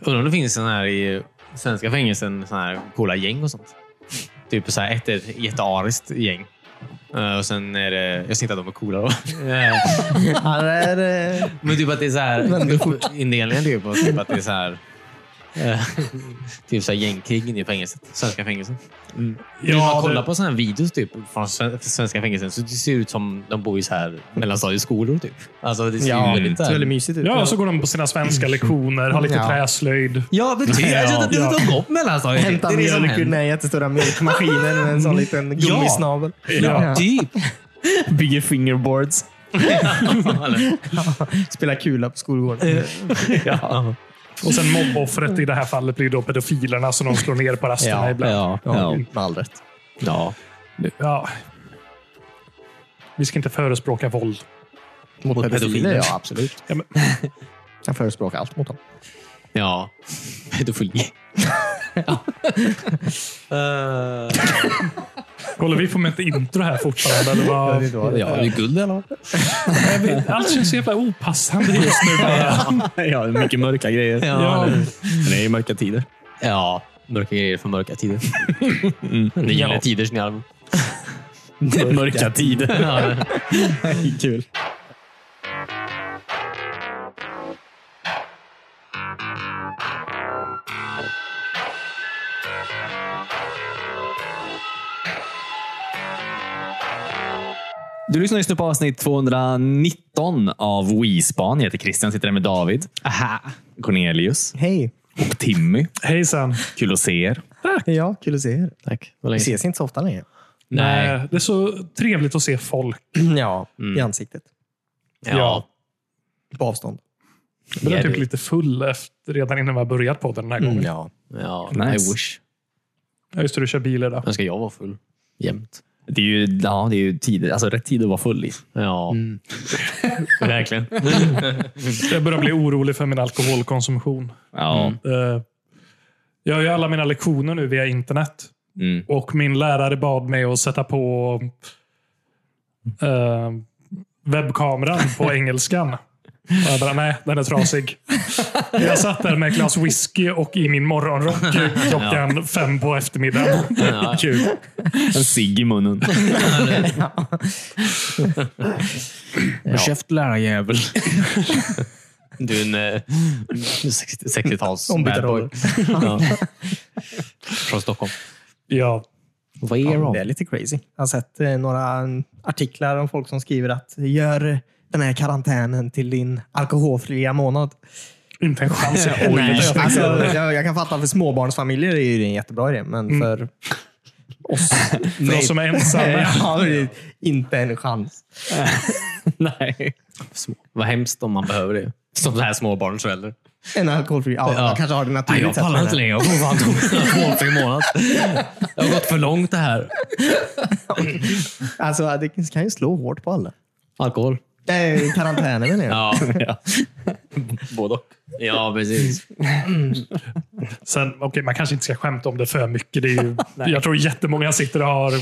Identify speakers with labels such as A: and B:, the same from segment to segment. A: Undrar om det finns sån här i svenska fängelsen, sån här coola gäng och sånt. Typ så här ett, ett jätteariskt gäng. Eh, och sen är det... Jag ser inte att de är coola då. Eh,
B: Han är... eh,
A: Men typ att det är så här... Indelningen typ. Och typ att det är så här... eh, typ så här gängkrig inne i fängelset. Svenska fängelsen. Ja, När man
C: det-
A: kollar på sådana här videos typ, från sven- svenska fängelsen så det ser ut som de bor i så här mellanstadieskolor. Typ. Alltså, det ser
B: Ja,
A: ju väldigt,
B: det
A: så
B: är
A: här-
B: väldigt mysigt ut.
C: Ja, så går de på sina svenska lektioner, har lite
B: Mm. Ja.
C: träslöjd.
A: Ja, betyder
C: Ja,
A: ja, att
C: ja.
A: de går på mellanstadiet.
B: Hämta
A: det är det som
B: mjölk ur den
A: händer.
B: här jättestora mjölkmaskinen med en sån liten
A: Ja.
B: gummisnabel.
C: Ja.
A: Typ.
B: Bygger fingerboards.
A: Eller-
B: Spelar kula på skolgården.
A: ja.
C: Och sen mobboffret i det här fallet blir då pedofilerna som de slår ner på rasterna
A: Ja,
C: ibland.
A: ja, ja.
B: med all rätt.
A: ja.
C: Ja. Vi ska inte förespråka våld.
B: Mot,
A: Mot
B: pedofiler,
A: pedofiler.
B: ja absolut.
C: Ja, men-
B: Jag förespråkar allt mot dem.
A: ja. Pedofili.
D: Eh,
A: ja.
C: Håller vi på med ett intro här fortfarande? Eller
B: Ja,
C: vad?
B: det är då.
A: ja, det är guld i alla fall.
C: Jag vet, allt känns så jävla opassande just nu. bara.
D: Ja, mycket mörka grejer.
C: Ja.
A: Ja.
D: Men det är ju mörka tider.
A: ja. Mörka grejer för mörka tider.
D: Mm.
A: Det gäller
B: Ja.
A: tiders nyarv.
D: Mörka, tider.
A: Ja.
D: Kul. Du lyssnar just nu på avsnitt 219 av WeSpan. Jag heter Christian, sitter här med David,
A: Aha.
D: Cornelius
B: Hej!
D: och Timmy.
C: Hejsan.
D: Kul att se er.
B: Ja, kul att se er.
A: Tack. Vad
B: Vi
A: länge sedan.
B: ses inte så ofta längre.
A: Nej.
C: Eh, Det är så trevligt att se folk.
B: Ja, i ansiktet.
A: Ja.
B: På avstånd.
C: Jag blev
A: Ja,
C: typ
A: det- Mm.
C: lite full efter, redan innan vi har börjat podden den här gången.
B: Ja.
A: ja.
D: Nice.
A: I wish.
C: Ja, just det, du kör bil idag.
A: Men ska jag vara full? Jämt.
D: Det är ju, ja, det är ju tid, alltså rätt tid att vara full i. Mm.
A: Ja. Verkligen.
C: Jag börjar bli orolig för min alkoholkonsumtion.
D: Ja.
C: Eh, Jag har ju alla mina lektioner nu via internet.
D: Mm.
C: Och min lärare bad mig att sätta på eh, webbkameran på engelskan. Och jag bara, nej, den är trasig. Jag satt där med ett glas whisky och i min morgonrock klockan fem på eftermiddagen.
A: Ja.
C: Kul.
D: En cigg i munnen.
A: Ja. Käft lärarjävel. du är en eh, 60 60-tals
B: Ombytta
A: bad boy.
B: roller.
A: ja. Från Stockholm.
C: Ja.
A: Vad är
B: Ja, det är lite crazy. Jag har sett eh, några mm, artiklar om folk som skriver att gör den här karantänen till din alkoholfria månad.
C: Inte en chans. Jag
B: Nej,
C: orkar inte.
B: alltså, jag, jag kan fatta för småbarnsfamiljer är ju det en jättebra idé, men för oss...
C: För oss som är ensamma.
B: ja, det är inte en chans.
D: Nej.
A: Små. Vad hemskt om man behöver det. Som så här småbarnsförälder.
B: En alkoholfri... Ja,
A: Ja.
B: Man kanske har det
A: Nej,
B: naturligt.
A: jag pallar
B: men-
A: inte längre. Jag kommer fan ta en månad. Det har gått för långt det här.
B: Alltså, det kan ju slå hårt på alla.
A: Alkohol.
B: Nej, karantänen menar jag.
A: Ja,
D: Ja. Både och.
A: ja precis.
C: Sen, okay, man kanske inte ska skämta om det för mycket. Det är ju, jag tror jättemånga sitter och har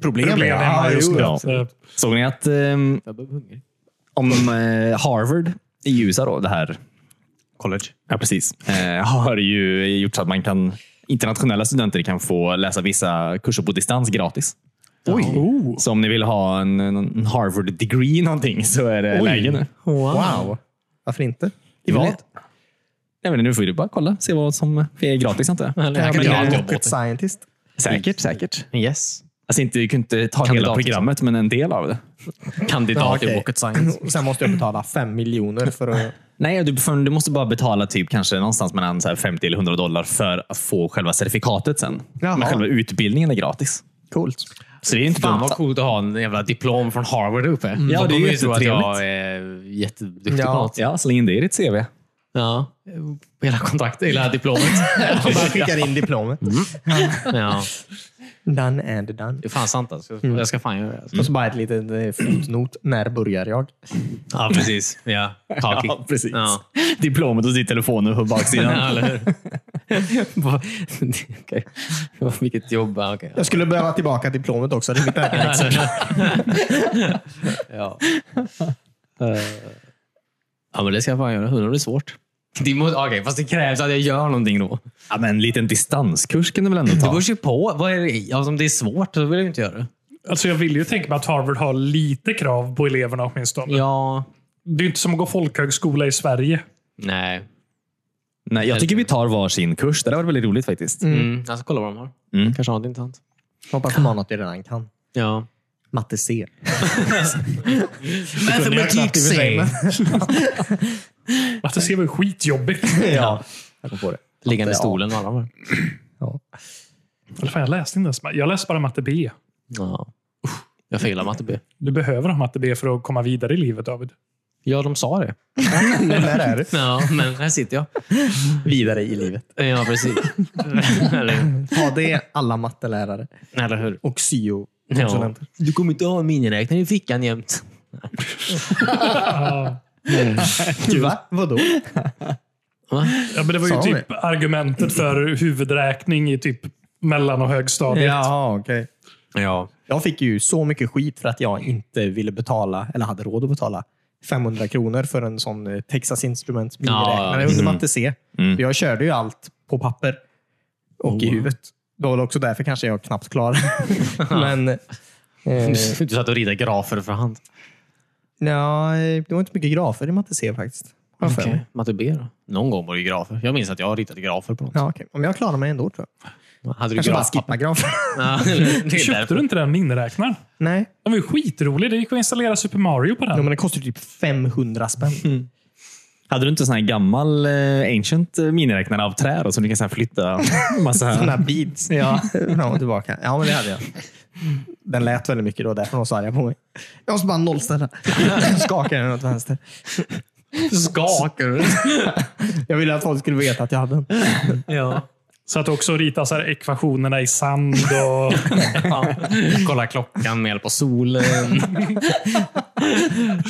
B: Problem,
C: problem hemma just nu.
D: ja.
C: Eh,
D: Såg ni att ehm,
A: Jag börjar bli hungrig.
D: om eh, Harvard i USA, då, det här
A: College.
D: Ja, precis. Eh, har ju gjort så att man kan, internationella studenter kan få läsa vissa kurser på distans gratis.
C: Oj. Oh.
D: Så om ni vill ha en, en Harvard-degree någonting så är det läge nu.
B: Wow. Varför inte? I vad?
D: Jag vet inte, nu får du bara kolla, se vad som är gratis. Inte.
A: Eller,
B: Kan
A: jag
B: jag
A: kan
B: bli
A: göra
B: en
A: ett jobb åt
B: rocket scientist?
D: Säkert, säkert.
A: dig. Yes.
D: Alltså inte, du kan inte ta hela
A: Kandidat,
D: programmet, men en del av det.
A: Kandidat
B: Ja,
A: i
B: okej.
A: rocket science.
B: Och Sen måste jag betala fem miljoner för att...
D: Nej, du, för- du måste bara betala typ kanske någonstans mellan så här 50 eller 100 dollar för att få själva certifikatet sen.
B: Jaha.
D: Men själva utbildningen är gratis.
B: Coolt.
D: Så det är inte
A: Fan Mm.
D: dumt.
A: vad coolt att ha en jävla diplom från Harvard uppe.
D: Ja,
A: De
D: det är
A: kommer ju tro att
D: jättetrevligt.
A: jag är jätteduktig
B: Ja.
A: på något.
D: Ja, släng in det i ditt CV.
A: Ja. På hela kontraktet, hela diplomet.
B: Jag bara skickar in diplomet.
A: ja.
B: Done and done.
A: Det är fan sant alltså. Jag ska fan göra det. Alltså.
B: Och så bara ett litet eh, fotnot. När börjar jag?
A: Ja, precis. Ja. Kaki.
D: Ja, precis.
A: Ja.
D: Diplomet hos din telefon på
A: Ja,
D: baksidan.
A: eller hur? Okej. Vilket jobb. Ja, okej.
B: Jag skulle behöva tillbaka diplomet också. Det är mitt verkligen liksom.
A: Ja. Eh, ja, men det ska jag fan göra. Undrar om det är svårt. Det måste, okej, fast det krävs att jag gör någonting då.
D: Ja, men en liten distanskurs kan du väl ändå
A: Det
D: ta?
A: beror ju på. Vad är det? Ja, om det är svårt så vill jag inte göra det.
C: Alltså jag vill ju tänka mig att Harvard har lite krav på eleverna åtminstone.
A: Ja,
C: Det är ju inte som att gå folkhögskola i Sverige.
A: nej.
D: Nej, jag tycker vi tar varsin kurs. Det där var väldigt roligt faktiskt.
A: Mm. Jag ska kolla vad de har.
D: Mm.
A: Kanske har det intressant.
B: Hoppas man har något jag redan kan.
A: Ja.
B: Matte C.
C: kunde jag knappt i och för sig, Att det ser väl skitjobbigt.
B: ja. Jag kom på det.
A: Liggande i
B: Matte A.
A: stolen och alla de här.
B: Ja.
C: Eller fan, jag läste inte ens. Jag läste bara matte B.
A: Ja. Usch, Jag failar matte B.
C: Du behöver ha matte B för att komma vidare i livet, David.
A: Ja, de sa det.
B: Där är du.
A: Ja, men här sitter jag.
B: Vidare i livet.
A: Ja, precis. eller,
B: Ha det alla mattelärare
A: eller hur?
B: och syo.
A: Ja. Du kommer inte ha en miniräknare i fickan jämt.
C: Ja.
B: Va? Vadå?
A: Va?
C: Ja, men det var ju
B: Sa de
C: typ argumentet för huvudräkning i typ mellan och högstadiet.
B: Jaha, okej.
A: Ja.
B: Jag fick ju så mycket skit för att jag inte ville betala, eller hade råd att betala, 500 kronor för en sån eh, Texas Instruments miniräknare
A: Ja,
B: under matte C.
D: Mm.
B: Jag körde ju allt på papper och i
A: Oh.
B: huvudet. Det var väl också därför kanske jag knappt klarade Men eh,
A: Du satt och ritade grafer för hand.
B: ja, eh, det var inte mycket grafer i matte C faktiskt. har jag för mig.
A: Matte B då? Någon gång var det ju grafer. Jag minns att jag har ritat grafer på något.
B: Ja, okay. Om jag klarar mig ändå tror jag.
A: Hade du
B: Kanske
A: grafpapper?
B: bara skippa grafer.
A: Ja, eller- det är
C: Köpte
A: därför.
C: du inte den miniräknaren?
B: Nej,
C: Den var ju skitrolig. Det gick att installera Super Mario på
B: ja,
A: Mm.
C: den.
B: men det kostar ju typ 500 spänn.
D: Hade du inte en sån här gammal eh, ancient eh, miniräknare av trä då, som du kan så här flytta?
B: Sådana
D: Massa...
B: här beats. Ja. Fram och tillbaka. Ja, men det hade jag. Den lät väldigt mycket då, därför var de så arga på mig. Jag måste bara nollställa. Skakade den åt vänster.
A: Skakar du?
B: Jag ville att folk skulle veta att jag hade den.
A: Ja.
C: Så att också rita så här ekvationerna i sand och...
A: Kolla klockan med hjälp av solen.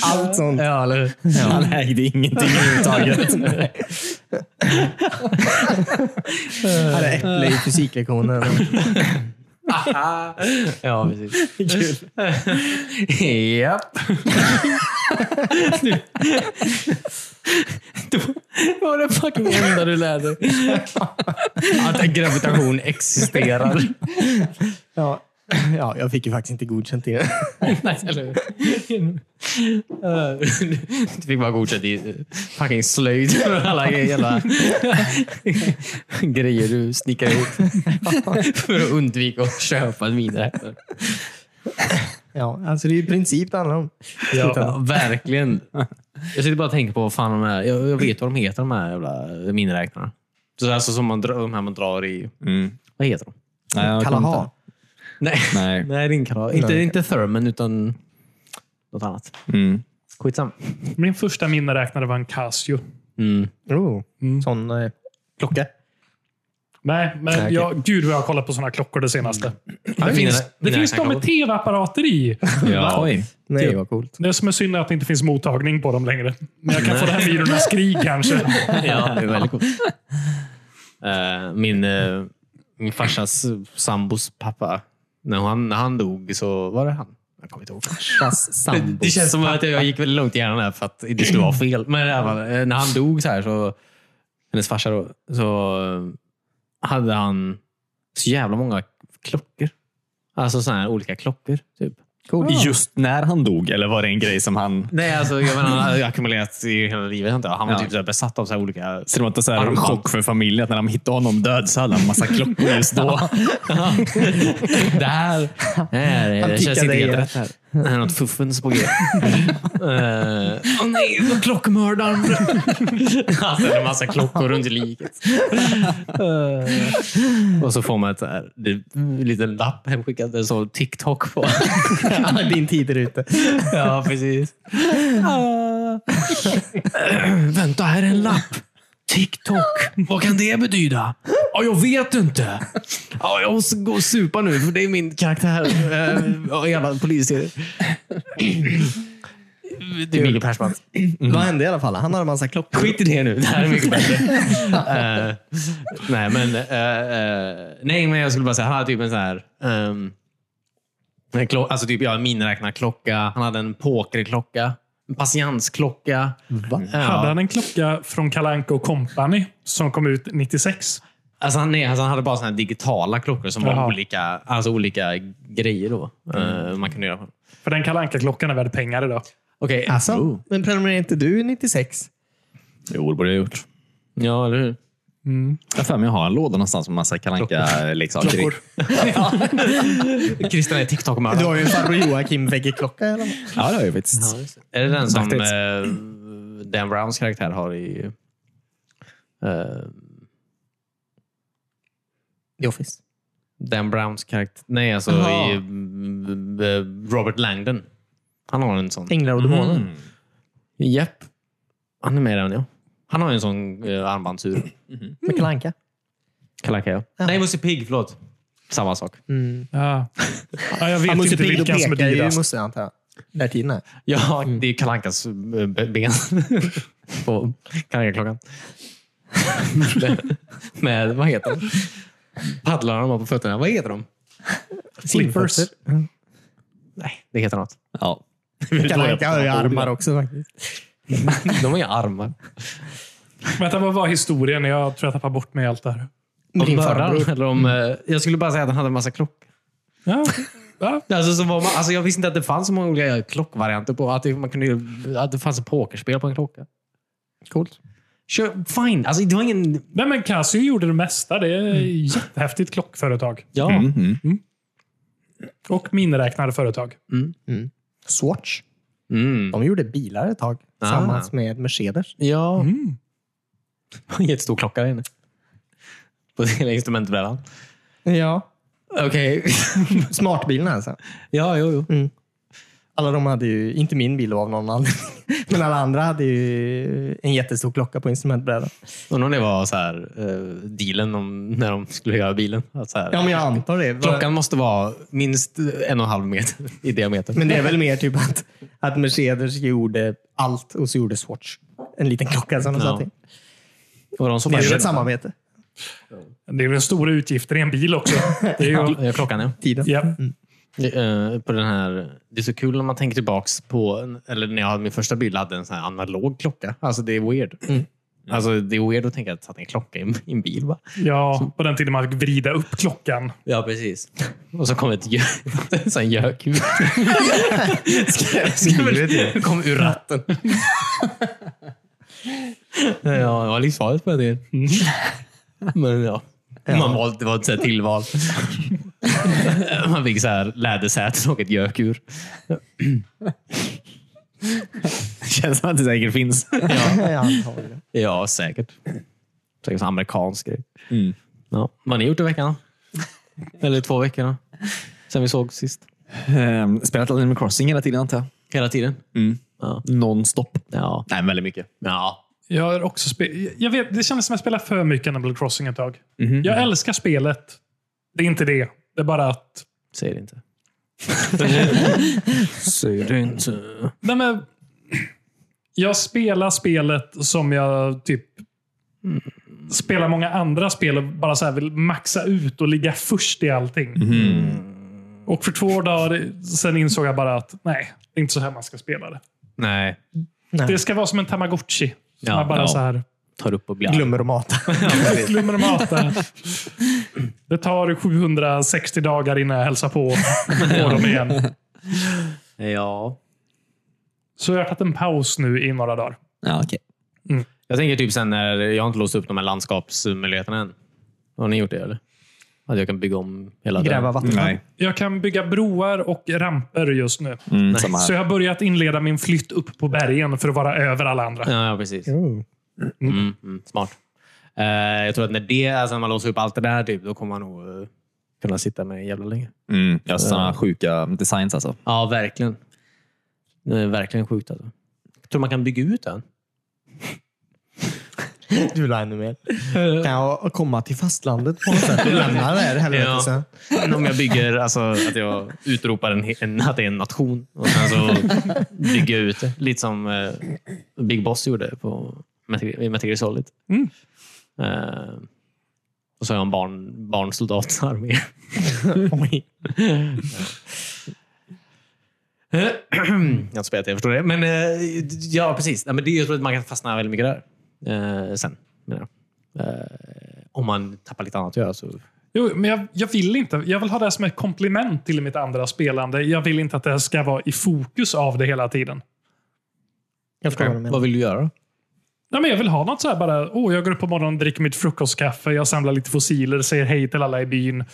B: Allt sånt.
A: Ja, eller hur?
D: Han ägde ingenting överhuvudtaget.
B: Jag hade äpple i fysiklektionen.
A: Ja, precis. Kul. Japp. Det var det fucking enda du lärde Att gravitation existerar.
B: Ja. Ja, jag fick ju faktiskt inte godkänt det.
A: Nej, eller hur? Eh, Du fick bara godkänt i eh, fucking slöjd för alla jävla grejer du snickar ihop för att undvika att köpa en miniräknare.
B: Ja, alltså det är i princip det handlar om.
A: Ja, verkligen. Jag sitter bara och tänker på vad fan de är. Jag, jag vet vad de heter, de här jävla miniräknarna. Så alltså som man drar, de här man drar i...
D: Mm.
A: Vad heter de?
D: Nej, jag kommer
B: Kalaha.
D: inte.
A: Nej,
D: Nej.
A: Nej det är inte, Kalaha. inte, inte Thurman, utan något annat.
D: Mm.
A: Skitsam.
C: Min första miniräknare var en Casio.
A: Mm.
B: Oh, sån eh, klocka.
C: Nej, men
B: okej.
C: jag, gud vad jag har kollat på sådana klockor det senaste.
A: Mm.
C: Det
A: mina-
C: finns, det
A: mina
C: finns de med
A: räknarklockor.
C: tv-apparater i.
D: Ja. Oj.
B: Nej, vad coolt.
C: Det som är synd är att det inte finns mottagning på dem längre. Men jag kan få det här myrornas krig kanske.
A: Ja, det är väldigt coolt. Eh, min, eh, min farsas sambos pappa, när han, när han dog så var det han. Jag kommer inte ihåg.
B: Fast
A: Det, det
B: sambos.
A: känns som att jag gick väldigt långt i hjärnan här för att det skulle vara fel. Men i alla fall, eh, när han dog så här, så, hennes farsa då, så eh, hade han så jävla många klockor. Alltså sådana här olika klockor. Typ.
D: Just när han dog, eller var det en grej som han...
A: Nej, alltså, jag menar, han hade ackumulerat i hela livet. antar jag. Han var
D: Ja.
A: typ så här besatt av så här olika...
D: Så det var inte så här
A: Armband.
D: chock för familjen att när de hittade honom död så hade han massa klockor just då.
A: det här, här
B: Han
A: det känns
B: tickade
A: inte helt
B: igen.
A: rätt. Här. Det är något fuffens på G. Eh, Åh nej, vad klockmördaren! Han ställer Alltså, en massa klockor runt i liket. Eh, och så får man ett så här, det, en liten lapp hemskickad där det står TikTok på.
B: Din tid är ute.
A: ja, precis. Vänta, här är en lapp. TikTok. Vad kan det betyda? Ja, jag vet inte. Ja, jag måste gå och supa nu, för det är min karaktär. Uh, jävla polisserie. Det är Mikael Persbrandt.
B: Vad hände i alla fall? Han hade en massa klockor.
A: Skit i det nu. Det här är mycket bättre. Eh, nej, men, eh, eh, nej, men jag skulle bara säga, han hade typ en sån här... ehm, en klo- alltså typ, ja, en miniräknarklocka. Han hade en pokerklocka. Patiensklocka. Eh,
B: Va?
A: Ja.
C: Hade han en klocka från Kalanka och Company som kom ut 96?
A: Alltså han, nej, alltså han hade bara såna här digitala klockor som var
C: Jaha.
A: olika, alltså olika grejer då. eh, man kunde göra. själv.
C: För den Kalanka klockan är värd pengar idag.
A: Okej.
B: Alltså,
A: Oh.
B: men prenumererar inte du 96?
D: Jo, det borde jag ha gjort.
A: Ja, eller hur?
D: Jag har för mig att jag har en låda någonstans med massa kalanka liksom, leksaker i.
C: Klockor.
A: Christian är TikTok-mördare.
B: Du har ju en farbror Joakim väggeklocka. eller vad?
D: Ja, det har jag ju faktiskt.
A: Är det den som
D: Faktiskt.
A: eh, Dan Browns karaktär har i... eh,
B: The Office.
A: Dan Browns karaktär... Nej, alltså
B: Jaha.
A: i mm, eh, Robert Langdon. Han har en sån.
B: Änglar och demoner.
A: Mm. Japp. Han är med i den, ja. Han har ju en sån eh, armbandsur.
B: Med Kalle Anka.
A: Kalanka, ja. Nej, Musse Pigg. Förlåt. Mm. Samma sak.
C: Ja. Ja, jag vet
B: Han måste
C: inte
B: pigg och
C: vilken som är
B: peka i
C: dyrast.
B: Musse, antar jag. Där tiden är.
A: Ja, det är Kalankas eh, be- ben. På Kalanka-klockan. med, med, vad heter de? Paddlarna de har på fötterna. Vad heter de?
C: Flippers.
A: Nej, det heter något.
D: Ja.
B: Kalle Anka har ju armar också faktiskt.
A: De har inga armar.
C: Vänta, vad var historien? Jag tror jag tappar bort mig i allt det här.
A: Om
B: Din
A: mördaren.
B: farbror.
A: Eller om, eh, jag skulle bara säga att han hade en massa klockor.
C: Ja. Ja.
A: Alltså, så var man, alltså, jag visste inte att det fanns så många olika klockvarianter. på Att det, man kunde, ju- att det fanns ett pokerspel på en klocka.
B: Coolt.
A: Kör, fine. Alltså, det var ingen...
C: Nej, men Casio gjorde det mesta. Det är ett jättehäftigt klockföretag.
A: Ja.
D: Mm, mm.
C: Och miniräknade företag.
B: Swatch.
A: Mm.
B: De gjorde bilar ett tag.
A: Ah.
B: Tillsammans med Mercedes.
A: Ja.
C: Mm.
A: En jättestor klocka där inne. På hela instrumentbrädan.
B: Ja.
A: Okej.
B: Smartbilarna alltså.
A: ja, jo, jo.
B: Alla de hade ju, inte min bil av någon anledning, men alla andra hade ju en jättestor klocka på instrumentbrädan.
A: Undrar om det var så här, eh, dealen om, när de skulle göra bilen. Att så här,
B: Ja, men jag antar det.
A: Klockan måste vara minst en och en halv meter i diameter.
B: Men det är väl mer typ att, att Mercedes gjorde allt och så gjorde Swatch en liten klocka som de
A: Ja.
B: satte in.
A: Och de som
B: Det är väl
A: bara-
B: ett samarbete.
C: Det är ju den stora utgifter i en bil också. Det är ju,
A: Ja, klockan ja.
B: Tiden.
C: ja.
A: Eh, På den här, det är så kul när man tänker tillbaks på, en- eller när jag hade min första bil hade en sån här analog klocka. Alltså det är weird. Alltså det är weird att tänka att jag satte en klocka i en- i en bil. Va?
C: ja, på den tiden man fick vrida upp klockan.
A: Ja, precis. Och så kom ett gö- sån gök ut. kom ur ratten. ja, det var livsfarligt på den tiden. Men ja. Man valde, det var ett så här tillval. Man fick så här lädersäten och ett gökur.
D: Det känns som att det säkert finns.
B: Ja, antagligen.
A: Ja, säkert. Säkert så amerikansk grej.
D: Mm.
A: Ja. Vad har ni gjort i veckan? då? Eller två veckor? då? Sen vi såg sist.
D: Ehm, Spelat Animal Crossing hela tiden antar jag.
A: Hela tiden?
D: Mm.
A: Ja.
D: Nonstop.
A: Ja.
D: Nej, men väldigt mycket.
A: ja.
C: Jag har också spe- jag vet, det kändes som att jag spelade för mycket Animal Crossing ett tag.
A: Mhm.
C: Jag älskar spelet. Det är inte det. Det är bara att...
A: Säg det inte. Säg det inte.
C: Nej, men, jag spelar spelet som jag typ spelar många andra spel och bara så här vill maxa ut och ligga först i allting.
A: Mhm.
C: Och för två dagar sen insåg jag bara att nej, det är inte så här man ska spela det.
A: Nej.
C: Det ska vara som en tamagotchi. Som
A: Ja,
C: man bara
A: ja.
C: så här
A: Tar upp och blir arg.
B: Glömmer att mata.
C: glömmer att mata. Det tar 760 dagar innan jag hälsar på, på dem igen.
A: Ja.
C: Så jag har tagit en paus nu i några dagar.
D: Ja, okej.
A: Jag tänker typ sen när jag har inte låst upp de här landskapsmöjligheterna än. Har ni gjort det eller? Att jag kan bygga om hela
B: Gräva
A: den.
B: vattenfall.
D: Nej.
C: Jag kan bygga broar och ramper just nu.
D: Mm, samma
C: Så
D: här.
C: jag har börjat inleda min flytt upp på bergen för att vara över alla andra.
A: Ja, ja, precis.
B: Oh.
A: Mm, mm, smart. Eh, jag tror att när det, alltså när man låser upp allt det där, typ, då kommer man nog eh, kunna sitta med jävla länge.
D: Mm, jag har sådana sjuka designs alltså.
A: Ja, verkligen. Det är verkligen sjukt alltså. Jag tror man kan bygga ut den.
B: Du vill ha ännu mer. Kan jag komma till fastlandet på något sätt och lämna det här
A: Ja.
B: helvetet sen?
A: Om jag bygger, alltså att jag utropar en, he- en, att det är en nation och sen så bygger jag ut det. Lite som eh, Big Boss gjorde på, Materi- i Material Solid.
C: Mm.
A: Eh, och så har jag en barn, barnsoldatsarmé.
B: Oj.
A: jag har spelat det, jag förstår det. Men eh, ja, precis. Nej, men det, jag tror att man kan fastna väldigt mycket där. Eh, sen, menar jag. Eh, om man tappar lite annat att göra. Så...
C: Jo, men jag, jag vill inte. Jag vill ha det här som ett komplement till mitt andra spelande. Jag vill inte att det här ska vara i fokus av det hela tiden.
B: Jag förstår vad du menar.
A: Vad vill du göra?
C: Nej, men jag vill ha något så här bara, oh, jag går upp på morgonen, dricker mitt frukostkaffe, jag samlar lite fossiler, säger hej till alla i byn,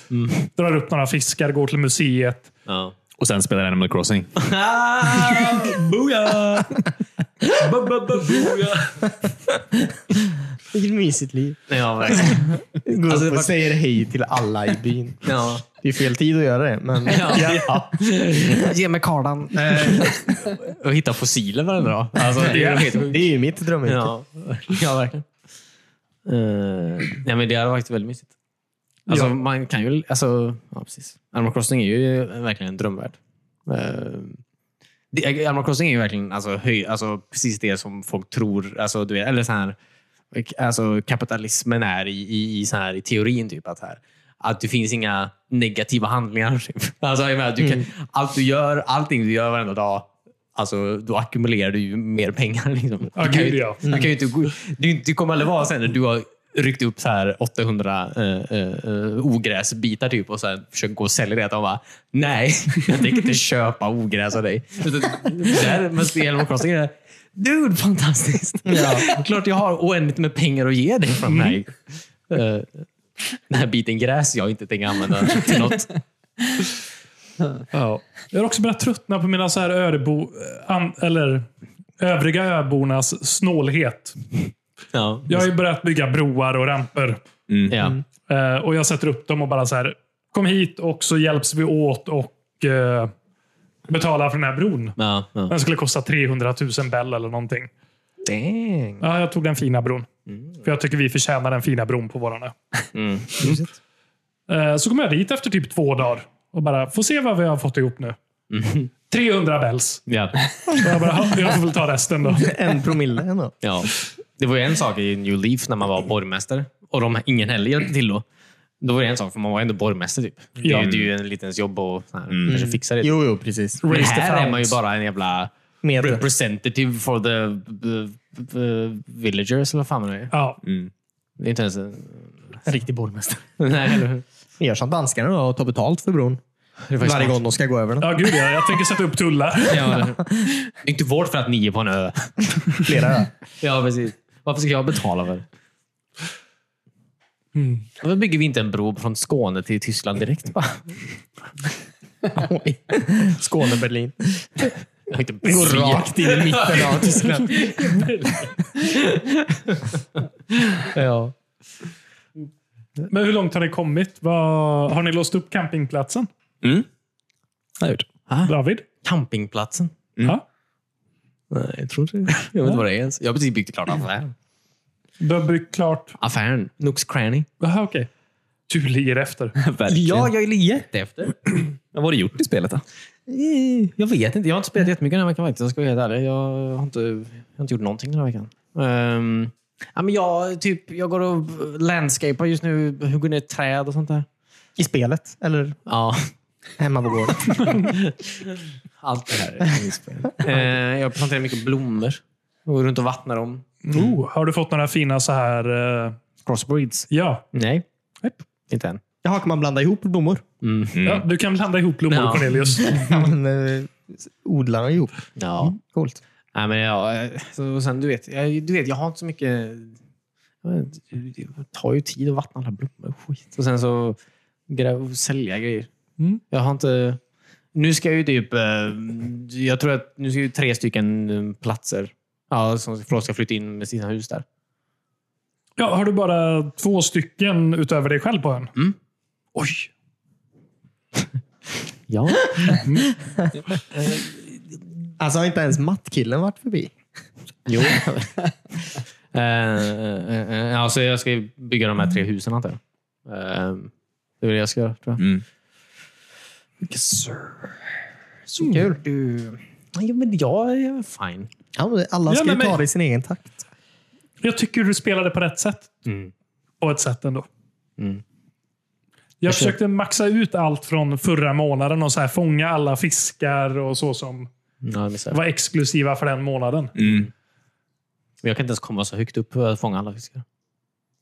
C: drar upp några fiskar, går till museet.
A: Ja.
D: Och sen spelar Animal Crossing.
A: Ah, Booyah! Booyah!
B: Vilket mysigt liv.
A: Ja, verkligen.
B: Gå
A: Alltså,
B: upp och
A: vart-
B: säger hej till alla i byn.
A: Ja.
B: Det är fel tid att göra det, men...
A: Ja. Eh,
B: Ge mig kardan.
A: Och hitta fossiler varenda dag. Alltså, det är helt sjukt.
B: Det är ju mitt drömyrke.
A: Ja, ja verkligen. Eh, nej, men det hade varit väldigt mysigt. Alltså,
C: Ja.
A: Man kan ju... Alltså, ja, precis. Animal Crossing är ju verkligen en drömvärld. Eh, det, Animal Crossing är ju verkligen alltså, höj, alltså, precis det som folk tror. Alltså, du vet, eller så här, alltså, kapitalismen är i, i, i, så här, i teorin. typ att, här, att det finns inga negativa handlingar. Typ. Alltså, jag menar, du kan,
C: Mm.
A: allt du gör, allting du gör varenda dag, alltså, då ackumulerar du ju mer pengar. Liksom.
C: Ja,
A: du, kan
C: gud,
A: ju,
C: ja.
A: du kan ju inte gå, du, du kommer aldrig vara sen när du har ryckt upp så här 800 eh, eh, eh, ogräsbitar typ, och sen försöker gå och sälja det. Att de bara, nej, jag tänker inte köpa ogräs av dig. Utan Där med Animal Crossing är det, dude, fantastiskt. Klart jag har oändligt med pengar att ge dig från mig. Eh, den här biten gräs jag inte tänker använda till något.
C: Ja. Jag har också börjat tröttna på mina så här ödebo, an, eller övriga öbornas snålhet.
A: Ja. Mm.
C: Jag har ju börjat bygga broar och ramper.
A: Ja.
C: Eh, och jag sätter upp dem och bara så här, kom hit och så hjälps vi åt och eh, betala för den här bron.
A: Ja, ja.
C: Den skulle kosta 300 000 bell eller någonting.
A: Dang.
C: Ja, jag tog den fina bron. För jag tycker vi förtjänar den fina bron på våran ö.
A: Mm.
C: Eh, Så kom jag dit efter typ två dagar och bara, får se vad vi har fått ihop nu.
A: Mm.
C: 300 bells.
A: Ja.
C: Så jag bara, "Ja, jag får väl ta resten då.
B: En promille ändå.
A: Ja. Det var ju en sak i New Leaf när man var borgmästare och de, ingen heller hjälpte till då. Då var det en sak, för man var ändå borgmästare. Typ. Det, är,
C: Ja.
A: ju- det är ju en liten jobb och så här, kanske fixa det.
B: Jo, jo, precis.
A: Men
C: Raise the
A: här är
C: funds.
A: man ju bara en jävla
B: Med det.
A: representative for the the- the villagers, eller vad fan det är.
C: Ja,
A: Det är inte ens en...
B: En riktig borgmästare.
A: Nej, eller hur?
B: Gör som danskarna då och tar betalt för bron.
A: Det är faktiskt
B: Varje
A: smart.
B: gång de ska gå över den.
C: ja gud ja, jag tänker sätta upp tullar.
A: Ja, eller hur? det är inte vårt för att ni är på en ö.
B: Flera öar.
A: Ja, precis. Varför ska jag betala för det? Mm. Varför bygger vi inte en bro från Skåne till Tyskland direkt? Bara?
B: Oj. Skåne, Berlin.
A: Jag har inte
B: Går
A: befriat-
B: rakt in i mitten av Tyskland. ja.
C: Men hur långt har ni kommit? Vad, har ni låst upp campingplatsen?
D: Mm.
C: David?
A: Campingplatsen?
C: Ja.
A: Nej, jag tror inte Jag vet inte vad det är ens. Jag har precis byggt klart affären.
C: Du har byggt klart?
A: Affären. Nooks Cranny.
C: Jaha, okej. Du ligger efter.
D: Verkligen.
A: jag ligger jätteefter.
D: Vad har du gjort i spelet då?
A: Jag vet inte. Jag har inte spelat jättemycket den här veckan faktiskt. Jag ska vara helt ärlig. Jag har inte, jag har inte gjort någonting den här veckan. Ehm, ja, men jag, typ, jag går och landscapar just nu. Hugger ner träd och sånt där.
B: I spelet, eller
A: Ja,
B: hemma på gården.
A: allt det här är inspel. Eh, jag planterar mycket blommor. Jag går runt och vattnar dem.
C: Oh, har du fått några fina så här... eh,
A: Crossbreeds?
C: ja.
A: Nej, Mm.
C: Nej.
A: inte än.
B: Jaha, kan man blanda ihop blommor?
C: ja, du kan blanda ihop blommor,
A: Ja.
C: Cornelius.
B: Ja, men, eh, odlar de ihop? Mm,
A: Ja.
B: Coolt.
A: Nej, men ja, eh, så, och sen, du, vet, jag, du vet, jag har inte så mycket... jag vet inte, Det tar ju tid att vattna alla blommor och skit. Och sen så grä- sälja grejer.
C: Mm.
A: Jag har inte... Nu ska jag ju typ... eh, Jag tror att nu ska ju tre stycken eh, platser ja, som folk ska flytta in med sina hus där.
C: Ja, har du bara två stycken utöver dig själv på ön?
A: Mm.
C: Oj.
A: Ja.
B: Alltså har inte ens mattkillen varit förbi?
A: Jo. Eh, eh, eh, ja, så jag ska ju bygga de här tre husen, antar jag. Eh, Det är det jag ska göra, tror jag.
D: Mm.
A: Yes, sir. Så
C: Mm.
A: kul. Du... Ja, men jag är fine.
B: Ja, men alla
C: Ja,
B: ska ju
C: men-
B: ta det i sin egen takt.
C: Jag tycker du spelade på rätt sätt.
A: Mm.
C: På ett sätt ändå.
A: Mm.
C: Jag försökte maxa ut allt från förra månaden och så här, fånga alla fiskar och så som
A: Ja, jag, missade.
C: Var exklusiva för den månaden.
D: Mm.
A: Men jag kan inte ens komma så högt upp för att fånga alla fiskar.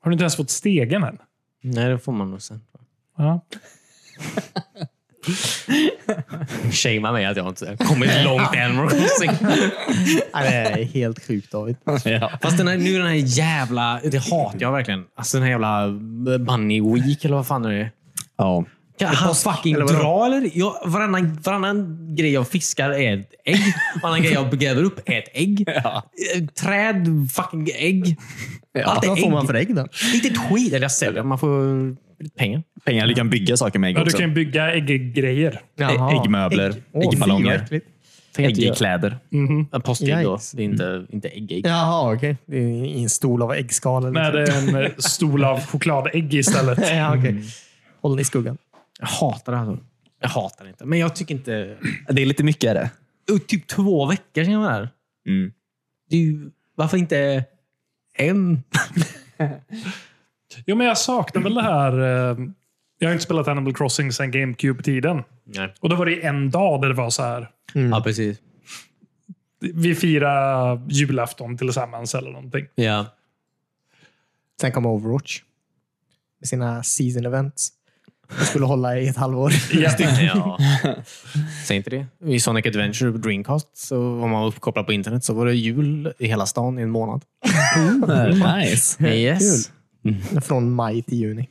C: Har du inte ens fått stegen än?
A: Nej, det får man nog sen.
C: Ja.
A: Shamea mig att jag inte kommit långt än. med crossing.
B: Nej, det är helt sjukt David.
D: Ja.
A: Fast den här, nu den här jävla... Det hatar jag verkligen. Alltså den här jävla eh, Bunny Week eller vad fan är det
D: ja.
A: Kan han
B: påsk,
A: fucking
B: eller vadå?
A: dra eller? Jag, varannan, varannan grej jag fiskar är ett ägg. Varannan grej jag gräver upp är ett ägg. Eh, Träd, fucking ägg. Allt är
B: Vad får
A: ägg.
B: man för ägg då?
A: Inte ett skit. Eller jag säljer. Man får lite pengar.
D: Pengar. Du kan bygga saker med ägg
C: Ja, du
D: också.
C: kan ju bygga ägggrejer.
B: Jaha.
D: Äggmöbler,
B: Ägg. Åh, fy, vad
D: äggballonger,
B: äckligt.
A: Tänk att göra-
D: äggkläder.
A: Ja, Påskägg då.
B: Yikes.
A: Det är inte, inte ägg-ägg.
B: Jaha, okej. Det är ingen stol av äggskal. Eller
C: Nej,
B: liksom.
C: det är en eh, stol av chokladägg istället.
B: Ja, okej.
A: Mm.
B: Håll dig i skuggan.
A: Jag hatar det. Alltså. Jag hatar det inte. Men jag tycker inte...
D: Det är lite mycket är det.
A: Och Typ två veckor sedan jag var där.
D: Mm.
A: Det är ju, varför inte en?
C: Jo, men jag saknar väl det här. eh, Jag har inte spelat Animal Crossing sedan GameCube-tiden.
A: Nej.
C: Och då var det en dag där det var så här.
A: Ja, precis.
C: Vi firar julafton tillsammans eller någonting.
A: Ja.
B: Sen kom Overwatch. Med sina season events. De skulle hålla i ett halvår.
C: Ja.
A: ja. Säg inte det. I Sonic Adventure på Dreamcast, så om man var uppkopplad på internet, så var det jul i hela stan i en månad.
D: Mm. Nice.
A: Yes.
B: Från maj till juni.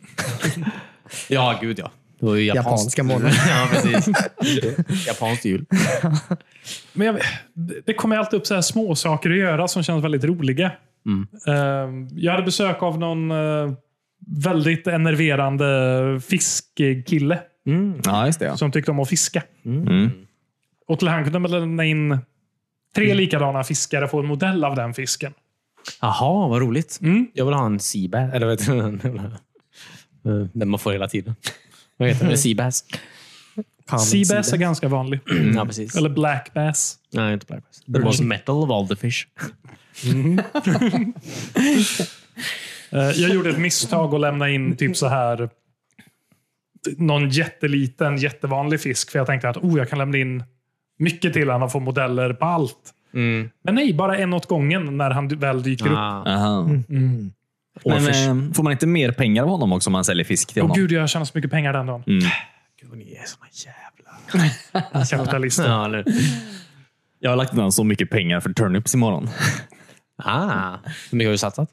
A: Ja, gud ja. Det var ju japanskt.
B: Japanska månader.
A: ja, precis. Japanskt jul.
C: Men jag, det- det kommer alltid upp så här små saker att göra som känns väldigt roliga. Eh, Jag hade besök av någon eh, väldigt enerverande fiskkille
D: Ja, just det. Ja.
C: som tyckte om att fiska.
D: Mm.
C: Och till han kunde man lämna in tre likadana fiskar och få en modell av den fisken.
A: Jaha, vad roligt.
C: Mm.
A: Jag vill ha en seabass. Eller vet du, den jävla- eh, den man får hela tiden. Vad heter den? Seabass?
B: Common
C: Seabass är
B: seabass.
C: ganska vanlig.
A: Mm, Ja, precis.
C: Eller blackbass.
A: Nej, inte blackbass. The was metal of all the fish.
C: Eh, Jag gjorde ett misstag och lämnade in typ så här någon jätteliten, jättevanlig fisk. För jag tänkte att oh, jag kan lämna in mycket till honom och få modeller på allt.
A: Mm.
C: Men nej, bara en åt gången när han väl dyker upp.
A: Ah.
D: Aha. Men, eh, får man inte mer pengar av honom också om man säljer fisk till
C: Åh
D: honom?
C: gud, jag tjänar så mycket pengar den dagen.
D: Mm.
A: Gud, vad ni är såna jävla... Alltså,
C: Kapitalister.
A: Ja, eller...
D: Jag har lagt undan så mycket pengar för turnips imorgon.
A: Ah. Hur mycket har du satsat?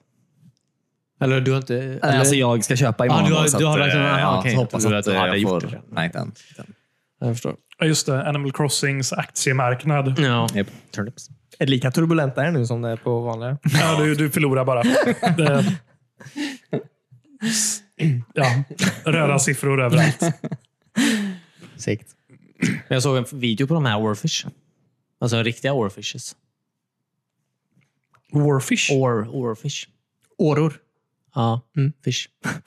A: Äh, Eller du har inte... Eller,
D: Eller, alltså jag ska köpa imorgon.
A: Ah, du har-
D: då, så
A: du har
D: att,
A: lagt undan-
D: eh,
A: aha,
D: ja,
A: okej.
D: så
A: Jag
D: hoppas
A: trodde
D: att
A: att du
D: eh,
A: hade
D: jag
A: gjort
D: får...
A: det.
D: Nej, den. den.
A: Jag förstår.
C: Ja, just det. Animal Crossings aktiemarknad.
A: Ja.
D: Japp.
A: Turnips.
B: Är det lika turbulent där nu som det är på vanliga?
C: Ja, du, du förlorar bara. Det... Ja, röda siffror överallt.
B: Sikt.
A: Jag såg en video på de här Warfish. Alltså riktiga Warfishes.
C: Warfish.
A: Or, warfish.
B: Åror.
A: Ja, fish.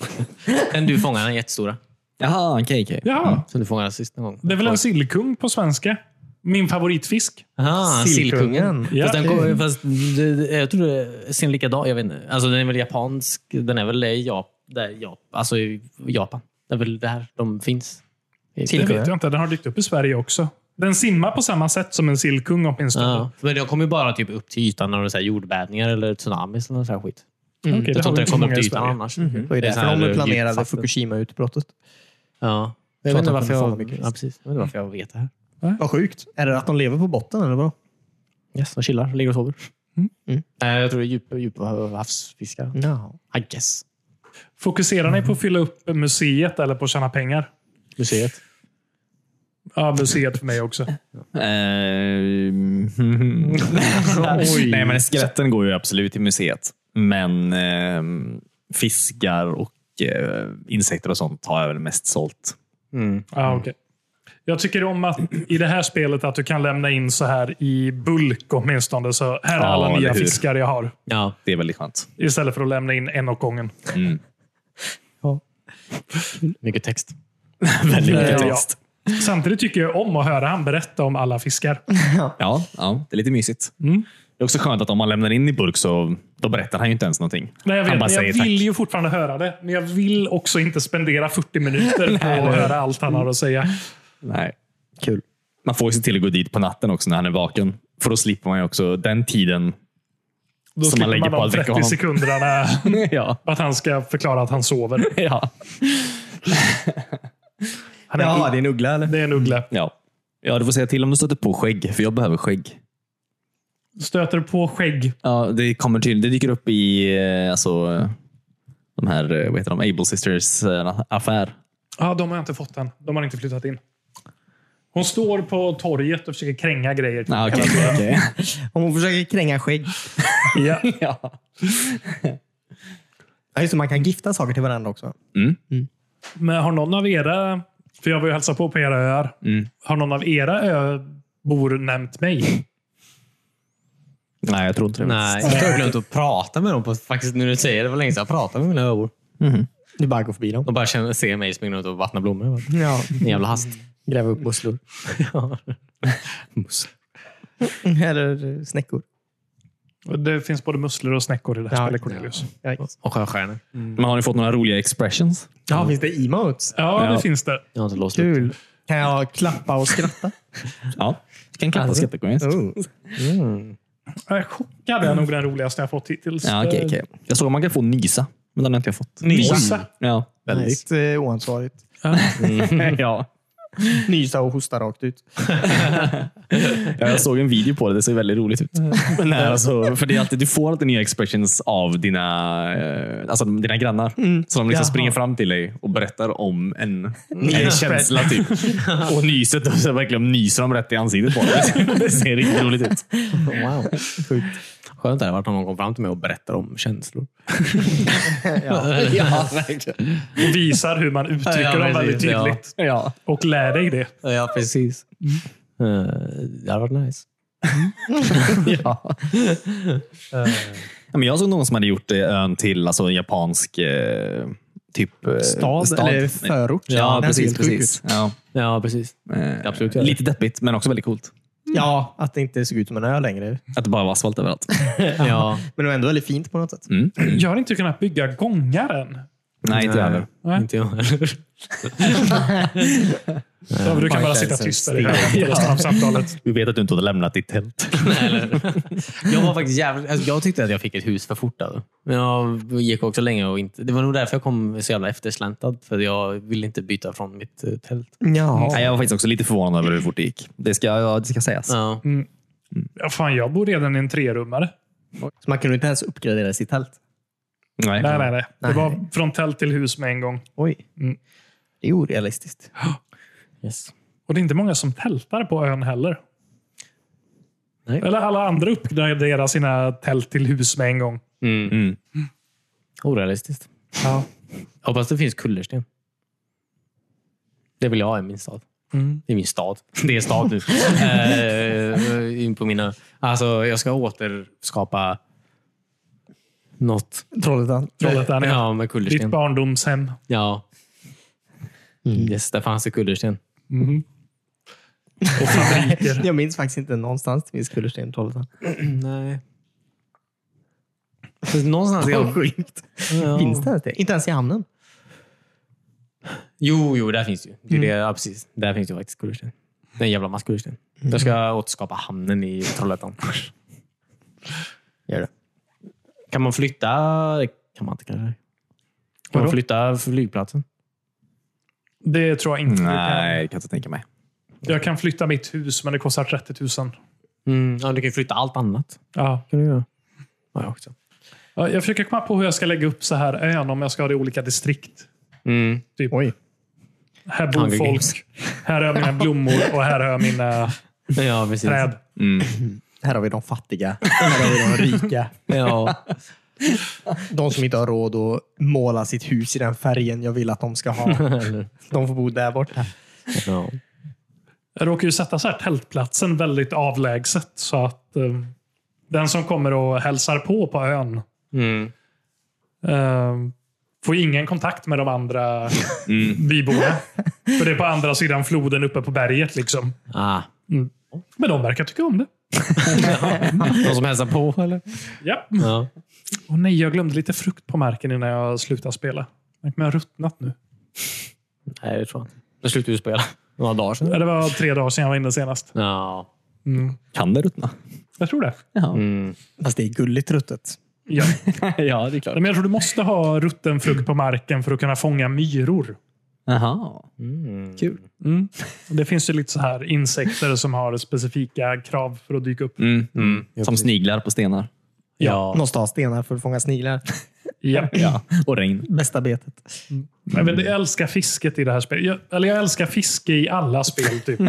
A: Den du fångade, den jättestora.
D: Jaha, okej. okej.
C: Ja,
A: Som du fångade sist någon gång.
C: det är väl en sillkung på svenska. Min favoritfisk.
A: Ah, sillkungen.
B: Sillkungen.
C: Ja.
A: Fast den kom, fast, det- det- jag tror det ser likadan Jag vet inte. Alltså, den är väl japansk. Den är väl i Jap, där, Jap, alltså i Japan. Det är väl där de finns.
C: Det
B: Sillkungen.
C: vet jag inte. Den har dykt upp i Sverige också. Den simmar på samma sätt som en sillkung åtminstone.
A: Ja, men de kommer ju bara typ upp till ytan när det är så här jordbävningar eller tsunamis eller någon sån här skit.
C: Mm. Okej,
A: Jag tror
C: har vi
A: inte
C: inte
A: den kommer
C: många
A: upp till
C: i
A: ytan
C: Sverige.
A: annars. Mm-hmm.
B: Det var ju
A: Det är så
B: därför
A: här
B: de planerade
A: djupvatten.
B: Fukushima-utbrottet.
A: Ja. Jag vet
B: Så att
A: inte
B: de
A: varför
B: kunde fånga
A: jag,
B: mycket fisk.
A: ja, precis. jag, vet inte varför jag vet det här.
B: Vad sjukt. Är det att de lever på botten eller vadå?
A: Yes, de chillar, ligger och sover.
C: Mm.
B: Mm.
A: Nej, jag tror det är djup, djup havsfiskar.
B: No.
A: I guess.
C: Fokuserar ni på att fylla upp museet eller på att tjäna pengar?
A: Museet.
C: Ja, museet för mig också.
D: Ehm, Nej, men skeletten går ju absolut till museet. Men ehm, fiskar och eh, insekter och sånt har jag väl mest sålt.
C: Ja,
A: Mm.
C: okej. Jag tycker om att i det här spelet att du kan lämna in så här i bulk åtminstone. Så här är
D: Ja,
C: alla
D: eller
C: nya
D: hur?
C: fiskar jag har.
A: Ja.
D: Det är väldigt skönt.
C: Istället för att lämna in en åt gången.
D: Mm.
A: Mycket text.
D: väldigt mycket
C: Eh, ja.
D: text.
C: Samtidigt tycker jag om att höra han berätta om alla fiskar.
D: Ja, ja, det är lite mysigt.
C: Mm.
D: Det är också skönt att om man lämnar in i burk så då berättar han ju inte ens någonting.
C: Nej, jag vet,
D: han bara
C: men jag
D: säger
C: vill
D: tack.
C: ju fortfarande höra det. Men jag vill också inte spendera 40 minuter på att höra allt han har att säga.
D: Nej.
B: Kul.
D: Man får ju se till att gå dit på natten också när han är vaken. För då slipper man ju också den tiden.
C: Då
D: Som man
C: slipper man
D: lägger på
C: de
D: att väcka
C: 30
D: honom.
C: sekunderna
D: ja.
C: att han ska förklara att han sover.
D: ja.
C: Han är ja,
B: det är en uggla eller?
C: det är en uggla.
D: Ja. Ja, du får säga till om du stöter på skägg, för jag behöver skägg.
C: Stöter på skägg.
D: Ja, det kommer till. Det dyker upp i eh, alltså, eh, de här, eh, vad heter de, Able Sisters eh, affär.
C: Ja, de har jag inte fått än. De har inte flyttat in. Hon står på torget och försöker kränga grejer.
D: Ah, okej, okej.
B: Om hon försöker kränga skägg.
C: Ja.
D: ja.
B: Ja, just det, man kan gifta saker till varandra också.
D: Mm.
C: Men har någon av era, för jag var ju hälsa på på era öar,
D: Mm.
C: har någon av era öbor nämnt mig?
D: Nej, jag tror inte det.
A: Nej, jag har glömt att prata med dem. På, faktiskt, nu när du säger det, det var länge sedan jag pratade med mina öbor.
B: Du bara går förbi dem.
A: De bara känner, ser mig springa runt och vattna blommor.
B: Ja,
A: En jävla hast.
B: gräva upp musslor.
A: Mus.
B: Eller snäckor.
C: Det finns både musslor och snäckor i det här
B: Ja.
C: spelet, Cornelius.
B: Ja,
A: Och sjöstjärnor.
D: Men har ni fått några roliga expressions?
B: ja finns det emotes?
C: Ja, det
D: Ja.
C: finns det.
A: Jag har inte låst upp.
B: Kul. Kan jag klappa och skratta?
D: Ja. Du kan klappa
B: Alltså.
D: skattekorgen.
B: Oh.
C: Jag är chockad. Det är nog den roligaste jag fått hittills. Eh,
D: Ja, okej, okej. Jag såg att man kan få nysa, men den har inte jag fått.
C: Nysa.
D: Ja.
B: Väldigt eh, oansvarigt.
D: ja.
B: Nysa och hosta rakt ut.
D: Ja, Jag såg en video på det. Det ser väldigt roligt ut. Men nej, alltså, för det är alltid, du får alltid nya expressions av dina, eh, alltså, dina grannar. Så de liksom
B: Mm. Jaha.
D: springer fram till dig och berättar om en, en
B: expression.
D: känsla. Typ. Och nyset, då så verkligen nyser de rätt i ansiktet på dig. Det ser riktigt roligt ut.
A: Wow. Skönt det hade varit om någon kom fram till mig och berättade om känslor.
D: Ja, verkligen.
C: Och visar hur man uttrycker
A: Ja,
C: dem
A: precis,
C: väldigt
A: ja.
C: tydligt.
D: Ja.
C: Och lär dig det.
A: Ja, precis. Eh, Det hade varit nice.
D: Ja. Men jag såg någon som hade gjort eh, ön till alltså, en japansk eh, typ, eh,
B: Stad, eller förort.
D: Ja,
B: Den ser
D: precis.
B: helt sjuk
D: precis. Ja.
A: Ja, precis.
D: Eh,
A: Absolut, ja.
D: lite deppigt, men också väldigt coolt.
B: ut. Ja, att det inte såg ut som en ö längre.
D: Att det bara var asfalt överallt.
A: Ja.
B: Men det var ändå väldigt fint på något sätt.
D: Mm.
C: Jag har inte kunnat bygga gångar än.
D: Nej, inte jag heller.
A: Nej, Inte jag heller.
C: Så du kan bara
B: Michael
C: sitta
B: sen
C: tyst där i hörnet resten av samtalet.
D: Vi vet att du inte hade lämnat ditt tält.
A: Jag var faktiskt jävligt... Alltså, jag tyckte att jag fick ett hus för fort. Alltså. Men jag gick också länge och inte... Det var nog därför jag kom så jävla eftersläntad. För jag ville inte byta från mitt eh, tält.
B: Ja.
D: Nej, jag var faktiskt också lite förvånad över hur fort det gick. Det ska, ja, det ska sägas.
A: Ja.
C: Ja, fan, jag bor redan i en trerummare.
B: Så man kunde inte ens uppgradera sitt tält.
D: Nej.
C: Nej, nej, nej. Det
B: Nej.
C: var från tält till hus med en gång.
B: Oj.
C: Mm.
B: Det är orealistiskt.
A: Yes.
C: Och det är inte många som tältar på ön heller.
A: Nej.
C: Eller alla andra uppgraderar sina tält till hus med en gång.
A: Mm.
D: Mm.
A: Orealistiskt.
C: Ja.
A: Jag hoppas det finns kullersten. Det vill jag ha i min stad.
C: Mm.
A: Det är min stad. Det är stad nu. Eh, in på mina... Alltså, jag ska återskapa något.
B: Trollhättan.
C: Trollhättan, ja.
A: Ja, med
C: Ditt
A: kullersten.
C: barndomshem.
A: Ja. Yes, där fanns det kullersten.
C: Och fabriker.
B: Jag minns faktiskt inte någonstans det finns kullersten i Trollhättan.
A: Nej. Någonstans...
B: Vad
A: Jag,
B: sjukt.
A: ja.
B: Finns det ens det? Inte ens i hamnen?
A: Jo, jo, där finns ju. Det är det, ja, precis. Där finns ju faktiskt kullersten. Det är en jävla massa kullersten. Jag ska återskapa hamnen i Trollhättan.
B: Gör det.
A: Kan man flytta... Det kan man inte kanske. Kan
C: Vadå?
A: man flytta flygplatsen?
C: Det tror jag inte du
D: Nej,
C: kan.
D: det kan jag inte tänka mig.
C: Jag kan flytta mitt hus, men det kostar 30 000.
A: Mm. Ja, du kan ju flytta allt annat.
C: Ja.
A: kan du göra. Ja, jag också.
C: Ja, Jag försöker komma på hur jag ska lägga upp så här ön om jag ska ha det i olika distrikt.
A: Mm.
B: Oj.
C: Här bor
A: Hunger
C: folk. Här har jag mina blommor och här har jag mina
A: Ja, precis.
C: träd.
B: Här har vi de fattiga. Här har vi de rika.
A: Ja.
B: De som inte har råd att måla sitt hus i den färgen jag vill att de ska ha. De får bo där borta.
A: ja.
C: Jag råkar ju sätta så här tältplatsen väldigt avlägset. Så att eh, den som kommer och hälsar på på ön
A: Mm.
C: eh, får ju ingen kontakt med de andra byborna. För det är på andra sidan floden uppe på berget. liksom.
A: Ah.
C: Men de verkar tycka om det.
A: Någon som hälsar på, eller?
C: Ja.
A: Ja.
C: Och nej, jag glömde lite frukt på marken innan jag slutade spela. Men jag har ruttnat nu.
A: Nej, det tror jag inte. Då slutar du spela. Några dagar
C: Ja,
A: sedan.
C: Det var tre dagar sedan jag var inne senast.
A: Ja.
C: Mm.
D: Kan det ruttna?
C: Jag tror det.
A: Mm.
B: Fast det är gulligt ruttet.
C: Ja.
D: ja, det är klart.
C: Men jag tror du måste ha rutten frukt på marken för att kunna fånga myror.
D: Jaha.
A: Mm.
D: Kul.
C: Det finns ju lite så här insekter som har specifika krav för att dyka upp.
D: Mm.
A: Ja,
D: Som
A: precis.
D: sniglar på stenar.
A: Ja.
B: Måste ha stenar för att fånga sniglar.
C: Ja.
D: Ja. Och regn.
B: Bästa betet.
C: Jag, vet, inte, jag älskar fisket i det här spelet. Jag, eller jag älskar fiske i alla spel. Typ.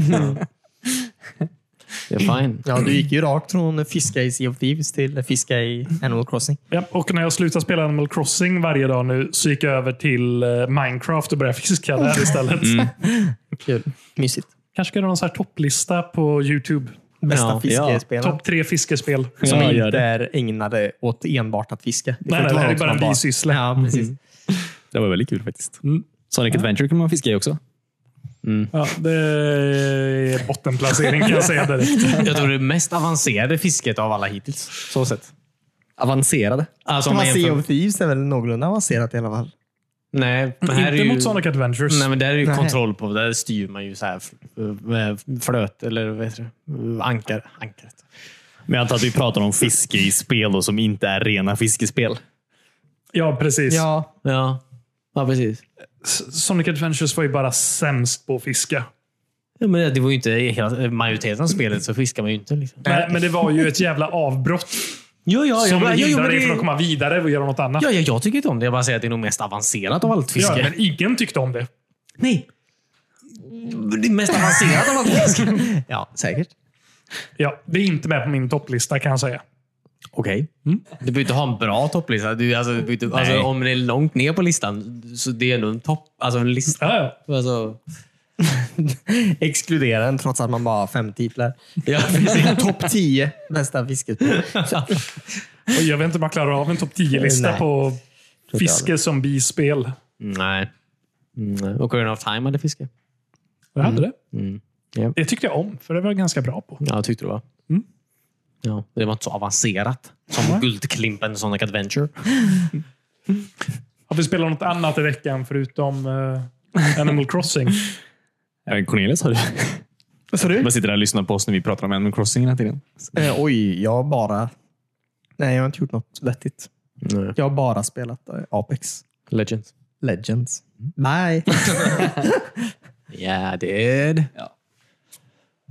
A: Det är fine.
B: Ja, du gick ju rakt från fiska i Sea of Thieves till fiska i Animal Crossing.
C: ja, och när jag slutade spela Animal Crossing varje dag nu så gick jag över till eh, Minecraft och började fiska där istället.
B: Kul. Mysigt.
C: Kanske ska göra någon så här topplista på YouTube.
B: Bästa
A: Ja,
B: fiskespelaren.
C: Topp tre fiskespel.
B: Som
D: Ja, gör
B: inte är ägnade åt enbart att fiska. Det
C: Nej,
B: får
C: nej,
B: inte
C: det
B: vara
C: är
B: något
C: bara
B: man
C: en bisyssla.
B: Ja, precis.
D: Det var väldigt kul faktiskt. Mm. Sonic Adventure kan man fiska i också.
C: Ja, det är bottenplacering kan jag säga direkt.
A: Jag tror det är mest avancerade fisket av alla hittills. Så sett.
D: Avancerade.
A: Alltså, om
B: Man
A: man
B: Sea
A: jämför...
B: of Thieves är väl någorlunda avancerat i alla fall.
A: Nej, men här är
C: Inte
A: ju...
C: mot Sonic Adventures.
A: Nej, men där är ju
B: Nej.
A: kontroll på. Där styr man ju så här f- med flöt eller vad heter det? Ankar, ankaret.
D: Men jag antar att vi pratar om fiske i spel då, som inte är rena fiskespel.
C: Ja, precis.
B: Ja,
A: Ja. ja, precis.
C: S- Sonic Adventures var ju bara sämst på att fiska.
A: Ja, men det var ju inte i hela majoriteten av spelet så fiskar man ju inte. Liksom.
C: Nej, men det var ju ett jävla avbrott
A: Ja, ja,
C: som
A: ja, ja,
C: hindrar
A: ja, men
C: dig från att
A: det,
C: komma vidare och göra något annat.
A: ja, ja, jag tycker inte om det. Jag bara säger att det är nog mest avancerat av allt
C: Ja,
A: fiske.
C: men ingen tyckte om det.
A: Nej! Det är mest avancerat av allt fiske.
B: ja säkert.
C: Ja, det är inte med på min topplista kan jag säga.
A: Okej. Du behöver inte ha en bra topplista. Du, alltså, du behöver inte, alltså,
D: Nej.
A: om det är långt ner på listan, så det är ändå en topp... Alltså en lista.
C: Ja, ja.
A: Alltså,
B: Exkludera den trots att man bara har fem titlar.
A: ja,
B: Topp 10 bästa fiskespel.
C: Och jag vet inte om jag klarar av en topp 10-lista
B: Nej.
C: på
B: jag
C: fiske som bispel.
A: Nej. Nej. Och Ocarina of Time hade fiske.
C: Jag hade det.
A: Mm. Ja.
C: Det tyckte jag om, för det var jag ganska bra på.
A: Ja, tyckte du va?
C: Mm.
A: Ja, men det var inte så avancerat. Som
C: Nej.
A: Guldklimpen Sonic Adventure.
C: Har vi spelat något annat i veckan förutom eh, Animal Crossing?
D: Cornelius, har du?
B: Förut?
D: Bara sitter där och lyssnar på oss när vi pratar om Animal Crossing hela tiden.
B: Eh, oj, jag har bara... Nej, jag har inte gjort något vettigt.
A: Nej.
B: Jag har bara spelat eh, Apex
A: Legends.
B: Legends. Nej.
A: Yeah, dude.
D: Ja.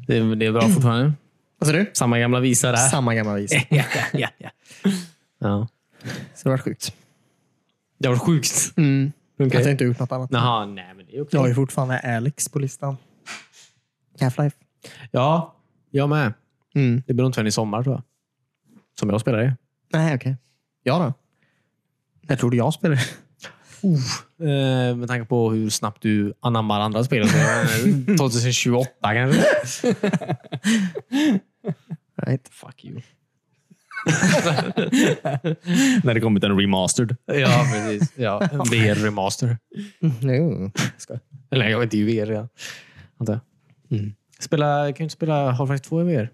A: Det, det är bra fortfarande.
B: Vad sa du?
A: Samma gamla visa där.
B: Samma gamla vis.
A: ja, ja, ja. ja.
B: Så det var sjukt.
A: Det var sjukt.
B: Mm.
A: Okej.
B: Att jag inte har gjort något annat.
A: Jaha, nej men det är okej.
B: Jag har ju fortfarande Alex på listan. Half-Life.
A: Ja, jag med.
B: Mm.
A: Det blir nog inte förrän i sommar tror jag. Som jag spelar det.
B: Nej, okej. Jag då? När tror du jag spelar?
A: Eh, med tanke på hur snabbt du anammar andra spel. så, eh, 2028 kanske?
B: Right.
A: Fuck you.
D: När det kommit en remastered.
A: Ja, precis. Ja, en VR remaster.
B: No.
A: Eller jag vet inte, det är ju VR redan. Antar jag.
B: Mm.
A: Spela, kan du inte spela Half-Life 2 i VR?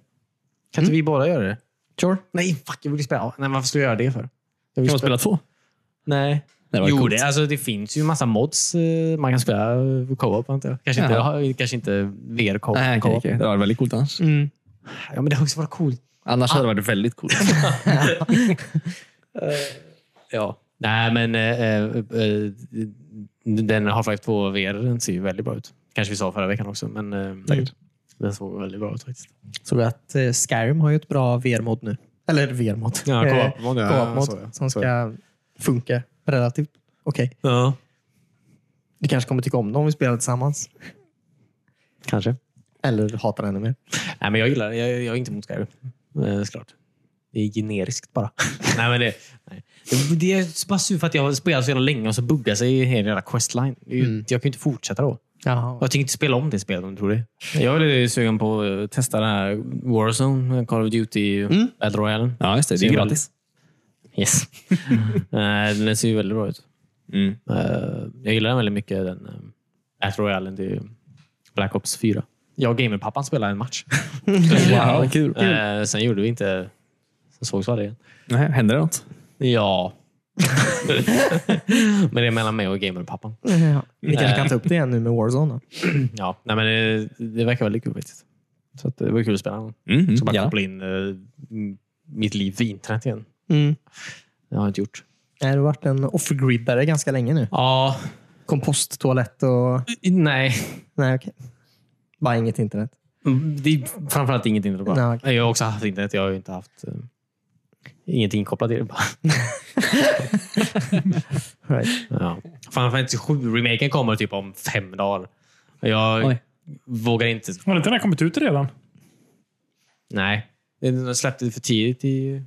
A: Kan inte vi båda göra det?
B: Sure.
A: Nej, fuck. Jag vill spela. Nej, varför skulle jag göra det för? Jag vill
D: Kan man spela två?
A: Nej.
D: Det var
A: jo,
D: coolt.
A: det, alltså, det finns ju en massa mods eh, man kan spela eh, co-op. Antar jag. Kanske, inte,
D: Jaha.
A: ha- kanske inte VR co-op.
D: Nej, okej,
A: co-op.
D: okej. Det var väldigt coolt annars.
B: Mm.
A: Ja, men det har också varit coolt.
D: Annars hade det varit väldigt coolt.
A: Ja. Nej, men eh, eh, eh, den Half-Life 2 VR den ser ju väldigt bra ut. Kanske vi sa förra veckan också, men eh,
D: Säkert.
A: den såg väldigt bra ut faktiskt.
B: Såg att eh, Skyrim har ju ett bra VR-mod nu. Eller VR-mod.
A: Ja,
B: Eh,
A: co-op-mod, ja,
B: co-op-mod
A: så, ja.
B: som
A: Så,
B: ska funka relativt okej.
A: Ja,
B: Du kanske kommer tycka om det om vi spelar tillsammans.
A: kanske.
B: Eller hatar ännu mer.
A: Nej, men jag gillar det. Jag, jag är inte mot Skyrim. Eh, såklart. Det är generiskt bara. nej, men det, nej. Det, det är bara sur för att jag har spelat så jävla länge och så buggar sig hela jävla questline. Det är ju- Jag kan ju inte fortsätta då.
B: Jaha.
A: Jag tänker inte spela om det spelet om du tror det. Jag är lite sugen på att testa den här Warzone, Call of Duty Battle Royale.
D: Ja, just det. Det
A: Ser
D: är
A: väl-
D: gratis.
A: Yes. Nej, den ser ju väldigt bra ut.
D: Mm.
A: Eh, Jag gillar den väldigt mycket, den eh, Battle Royale till Black Ops 4. Jag och gamerpappan spelade en match.
D: Wow, kul.
A: Eh, Sen gjorde vi inte... Sen sågs vi aldrig igen.
D: Nej, händer det något?
A: Ja, men det är mellan mig och gamerpappan.
B: Ja. Vi kanske
A: Nej.
B: kan ta upp det igen nu med Warzone. Då.
A: Ja, nej, men det, det verkar väldigt kul faktiskt. Så att eh, det var kul att spela. den.
D: Mm, mm,
A: Ska bara
D: ja.
A: koppla in eh, m- mitt liv vid internet igen.
B: Mm.
A: Det har jag inte gjort.
B: Nej, Du har varit en off-gridare ganska länge nu.
A: Ja,
B: Komposttoalett och...
A: nej.
B: Nej, okej. Bara inget internet.
A: Mm, Det är framförallt inget internet. Bara.
B: Nej, okej.
A: Jag har också haft internet. Jag har ju inte haft eh, ingenting kopplat till det. Bara.
B: Right.
A: Ja. Final Fantasy 7-remaken kommer typ om fem dagar. Jag
D: Oj.
A: vågar inte.
C: Har inte den här kommit ut redan?
A: Nej. Den släppte för tidigt i...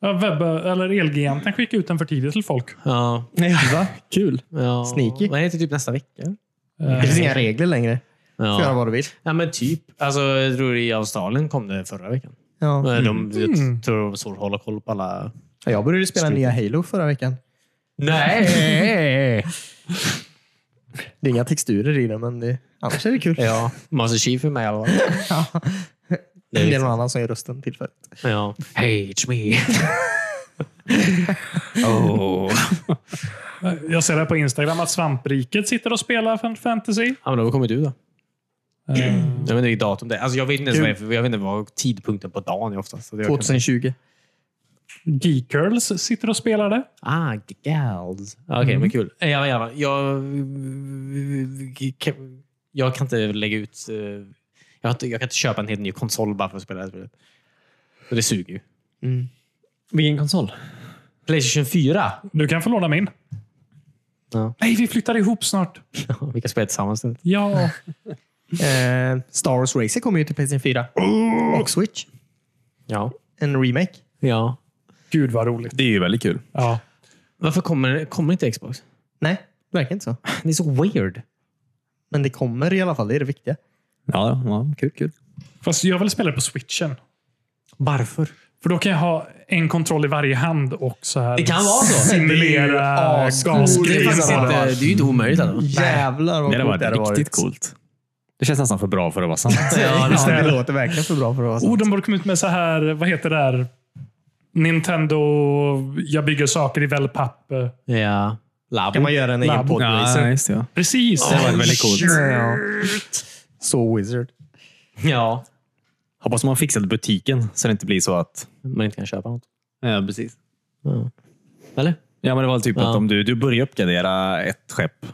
C: Ja, webb, eller Elgiganten skickade ut den för tidigt till folk.
A: Ja,
B: Va? Kul.
A: ja.
B: Sneaky.
A: Nej, inte typ nästa vecka.
B: Det finns inga regler längre. Du får göra
A: Ja.
B: vad du vill.
A: ja, men typ. Alltså, jag tror i Australien kom det förra veckan.
B: Ja.
A: Mm. De, jag tror de svårt att hålla koll på alla...
B: Ja, Jag började spela nya Halo förra veckan.
A: Nej!
B: Det är inga texturer i den, men det, annars är det kul.
A: ja, Master Chief är med i alla fall.
B: Ja.
A: Det
B: Det
A: är
B: är
A: liksom-
B: någon annan som gör rösten tillfälligt.
A: Ja. Hey, it's me. oh.
C: Eh, Jag ser det här på Instagram att svampriket sitter och spelar Final Fantasy.
A: Ja, men då har vi kommit ut då.
C: Eh,
A: Jag vet inte vilket datum det är. Alltså, jag vet inte ens vad det är, för jag vet inte vad tidpunkten på dagen är oftast. Så det-
B: 2020.
C: Geekgirls sitter och spelar det.
A: Ah, Mm. gals. Ah, Okej, men kul. Ja, ja, ja. Jag, jag kan inte lägga ut... eh, Jag, har inte, jag kan inte köpa en helt ny konsol bara för att spela det här spelet. Så det suger ju.
D: Vilken konsol?
A: Playstation 4.
C: Du kan få låna min.
A: Ja.
C: Nej, vi flyttar ihop snart.
A: Vi kan spela tillsammans. nu.
C: Ja.
B: Eh, Star Wars Racer kommer ju till Playstation 4. Och Switch.
A: Ja.
B: En remake.
A: ja.
C: Gud vad roligt.
D: Det är ju väldigt kul.
C: Ja.
A: Varför kommer, kommer inte Xbox?
B: Nej, det verkar inte så.
A: Det är så weird.
B: Men det kommer i alla fall. Det är det viktiga.
D: Ja, ja kul, kul.
C: Fast jag vill spela det på switchen.
A: Varför?
C: För då kan jag ha en kontroll i varje hand och så här
A: Det kan vara så.
C: simulera
B: ascoolt.
C: gasbil.
A: Det är, faktiskt
B: Precis.
A: inte, det är ju inte omöjligt. Alltså.
B: Jävlar vad
D: Det hade
B: coolt
D: varit
B: det hade varit.
D: riktigt coolt. Det känns nästan för bra för att vara sant.
A: Ja,
B: Ja,
A: det-
B: det låter verkligen för bra för att vara
C: Oh,
B: sant.
C: de borde komma ut med så här, vad heter det där? Nintendo, jag bygger saker i wellpapp.
A: ja. Labo.
B: Kan man göra en egen
C: Labb.
B: podracer?
D: ja, just det. Ja.
C: Precis.
D: Det var väldigt coolt.
B: Ja. Så wizard.
A: Ja.
D: Hoppas man har fixat butiken så det inte blir så att...
A: Man inte kan köpa något.
D: Ja, precis.
A: Eller?
D: Ja, men det var typ
A: Ja.
D: att om du, du börjar uppgradera ett skepp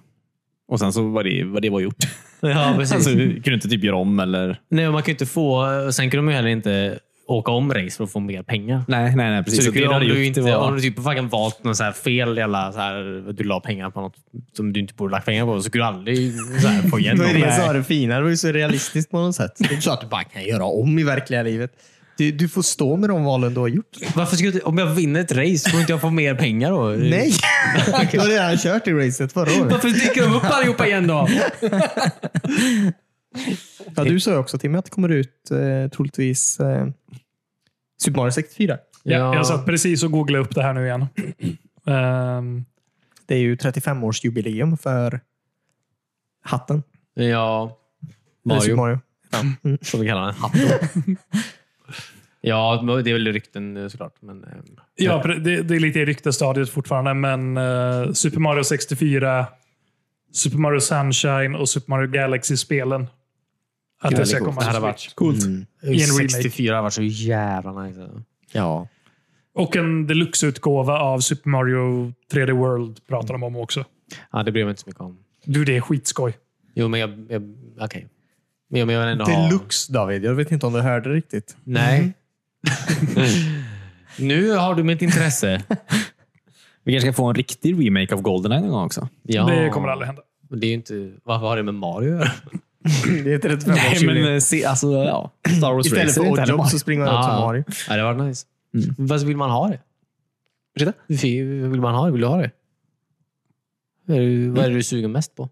D: och sen så var det vad det var gjort.
A: Ja, precis.
D: Alltså, du kunde inte typ göra om eller...
A: Nej, man kan ju inte få... eh, Sen kan de ju heller inte åka om race för att få mer pengar.
D: Nej, nej, nej.
A: Så
D: Precis.
A: du
D: Så det
A: kunde, om,
D: hade gjort,
A: du
D: det
A: inte,
D: var-
A: om du typ fucking valt någon så här fel jävla... Så här, du la pengar på något som du inte borde lagt pengar på, så skulle du aldrig så här, få igen
B: Det var ju
A: dem.
B: det som var det fina. Det var ju så realistiskt på något sätt. Det är klart att du bara kan göra om i verkliga livet. Du, du får stå med de valen du har gjort.
A: Varför skulle, jag- om jag vinner ett race, får inte jag få mer pengar då?
B: Nej! Du har redan kört i racet förra året.
A: Varför dyker de upp allihopa igen då?
B: Ja, du sa ju också Timmy att det kommer ut eh, troligtvis eh, Super Mario 64.
C: Ja, jag satt precis och googlade upp det här nu igen. Ehm,
B: Det är ju 35-årsjubileum för hatten.
A: ja.
B: Eller Super
A: Mario,
B: Mario.
A: som vi kallar den. Hatten. ja, det är väl rykten eh, såklart. Men, ehm,
C: ja, pre- det, det är lite i ryktesstadiet fortfarande, men eh, Super Mario 64, Super Mario Sunshine och Super Mario Galaxy-spelen. Att det ska komma
A: Det
C: till
A: hade
C: Switch.
A: varit coolt.
C: I en remake.
A: 64 har varit så jävla nice.
B: Ja.
C: Och en deluxe-utgåva av Super Mario 3D World pratar de om också.
A: Ja, det bryr jag mig inte så mycket om.
C: Du, det är skitskoj.
A: Jo, men jag... jag Okej. Men jag- men jag vill ändå ha...
B: Deluxe David. Jag vet inte om du hörde riktigt. Mm.
A: Nej. Mm. nu har du mitt intresse.
D: Vi kanske ska få en riktig remake av Goldeneye någon gång också.
A: Ja.
C: Det kommer aldrig hända.
A: Men Det är ju inte... Varför har det med Mario att göra?
B: Det är 35
D: Nej, men eh, se, alltså, ja. Star Wars
B: Istället
D: Racer
B: för
D: är inte heller
B: Oddjob
D: Mario.
B: så springer man runt som Mario.
A: ja, det var nice. Varför vill man ha det? Ursäkta? Vill man ha det? Vill du ha det? Vad är du, vad är du sugen mest på?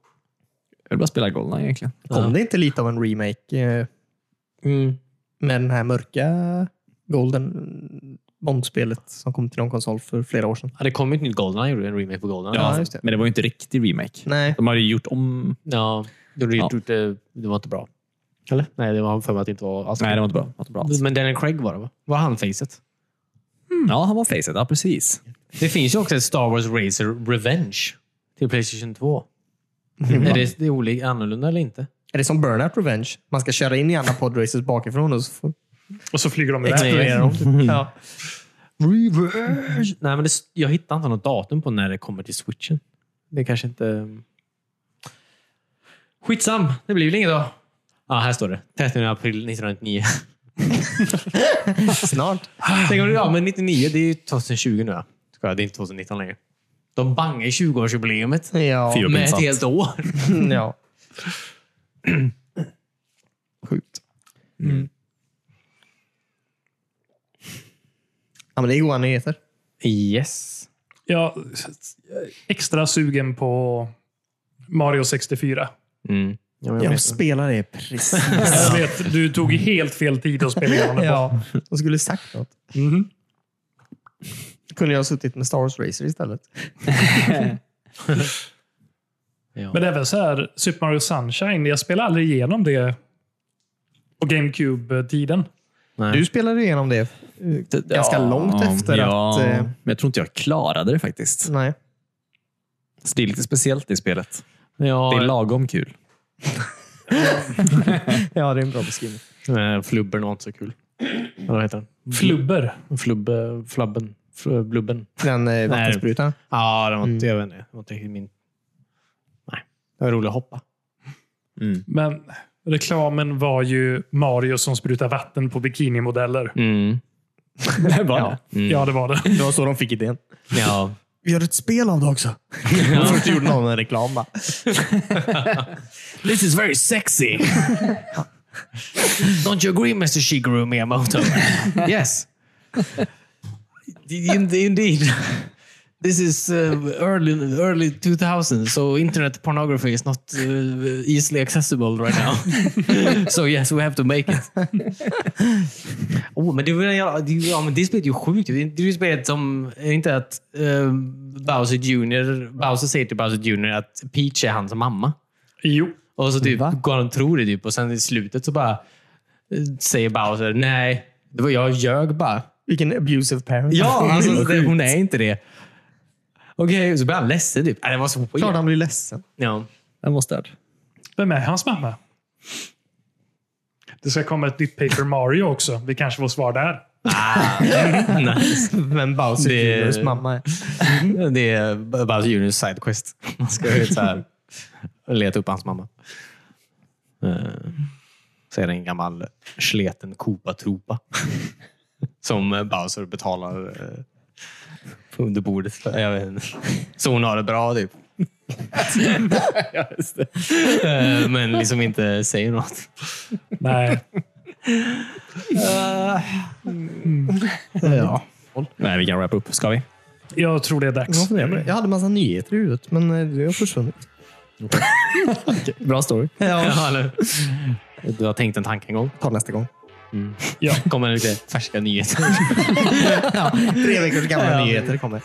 D: Jag vill bara spela Goldeneye egentligen.
B: Kom
A: Ja.
B: det inte lite av en remake eh,
A: Mm.
B: med den här mörka Golden Bond-spelet som kom till någon konsol för flera år sedan?
A: Ja, det kom ju ett nytt Goldeneye. gjorde En remake på Goldeneye.
B: Ja, just det.
D: Men det var ju inte riktig remake.
B: Nej.
D: De hade ju gjort om...
A: Ja, det,
D: Ja.
A: gjort, det, det var inte bra. Eller? Nej, det var för mig att det inte var alls
D: Nej, det var inte bra. Det var inte bra alls.
A: Men Daniel Craig var det, va? Var han facet?
B: Mm.
D: Ja, han var facet. Ja, precis.
A: Det finns ju också ett Star Wars Racer Revenge till Playstation 2. Är det, det är olika, annorlunda eller inte?
B: Är det som Burnout Revenge? Man ska köra in i andra podraces bakifrån och så får
C: Och så flyger de
B: explodera
C: iväg.
B: dem. Typ. Ja.
A: Revenge! Mm. Nej, men det, jag hittar inte något datum på när det kommer till switchen. Det kanske inte... Skitsam, det blir väl inget då. Ja, här står det. 30 april 1999.
B: Snart.
A: Tänk om det, ja, men 99, det är ju 2020 nu. Ja. Ska jag, Det är inte 2019 längre. De bangar ju 20-årsjubileumet
B: Ja.
D: Fyra.
A: med ett
D: pinsamt.
A: helt år.
B: ja. Sjukt. Mm. Ja, men det är goda nyheter.
A: Yes.
C: Jag är extra sugen på Mario 64.
A: Mm. Ja, men jag vet.
B: spelar det precis.
C: Jag vet, du tog helt fel tid att spela igenom det på.
B: ja, de skulle sagt något. Kunde jag ha suttit med Star Wars Racer istället?
A: Ja.
C: Men även så här, Super Mario Sunshine, jag spelade aldrig igenom det på GameCube-tiden.
A: Nej.
B: Du spelade ju igenom det eh, ganska
D: Ja,
B: långt efter
D: ja,
B: att... eh, Mm.
D: Men jag tror inte jag klarade det faktiskt.
B: Nej.
D: Så det är lite speciellt i spelet.
A: ja, eh,
D: Det är lagom kul.
B: Ja, det är en bra beskrivning.
A: Nej, flubbern var inte så kul. Eller Vad heter den?
C: Flubber.
A: Flubb, flabben. Fl- Blubben. Mm.
B: Den eh, vattensprutan.
A: Ja, det var inte, jag vet inte. Det var inte riktigt min... Nej. Det var roligt att hoppa.
C: Men reklamen var ju Mario som sprutar vatten på bikinimodeller.
A: Mm.
D: Det var ja.
C: Ja, det var det.
B: Det var så de fick idén.
A: Ja.
B: Vi gör ett spel av det också. Först gjorde någon en reklam bara.
A: This is very sexy. Don't you agree, Mr. Shigeru Miyamoto? yes. In- Indeed. This is uh, early, early 2000, so internet pornography is not uh, easily accessible right now. so yes, we have to make it. oh, men det, var- ja, det, ja, men det spelet är ju sjukt. Det är det är ju spelet som, är inte att eh, Bowser Jr. Bowser säger till Bowser Jr. att Peach är hans mamma.
C: Jo.
A: Och så typ går han och tror det typ. Och sen i slutet så bara eh, säger Bowser, nej, det var jag ljög bara.
B: Vilken abusive parent.
A: Ja, alltså, det, hon är inte det. Okej, så blir han ledsen typ. Äh, Det var så
B: Klart
A: weird.
B: han blir ledsen.
A: Ja.
D: Den var störd.
C: Vem är hans mamma? Det ska komma ett nytt Paper Mario också. Vi kanske får svar där.
B: Men Bowser
A: Det-
B: Juniors mamma är...
A: Det är Bowser Juniors sidequest. Man ska ju så här, leta upp hans mamma. Eh, Så är det en gammal sleten Koopa-troopa. Som eh, Bowser betalar eh, under bordet. för. Jag vet inte. Så hon har det bra typ. Eh, Men liksom inte säger något.
C: Nej.
B: Ja.
D: Nej, vi kan wrap upp. Ska vi?
C: Jag tror det är dags.
B: Jag funderar på det. Jag hade massa nyheter i huvudet, men eh, det har försvunnit.
D: Bra story.
A: Ja, eller- Du har tänkt en tanke en gång.
B: Ta nästa gång.
C: Ja.
A: Kommer det lite färska nyheter.
B: Tre veckors gamla nyheter kommer.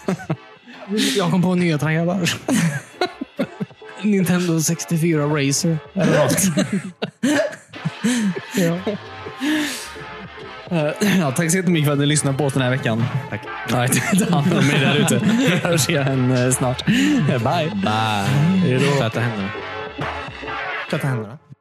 A: Jag kom på en nyhet här grabbar. Nintendo 64 Racer. Eller något.
D: Eh, Ja, tack så jättemycket för att ni lyssnade på oss den här veckan.
A: Tack.
D: Nej, ta hand om er där ute. Hörs igen eh, snart. Bye.
A: Bye. Tvätta händerna.
B: Tvätta händerna.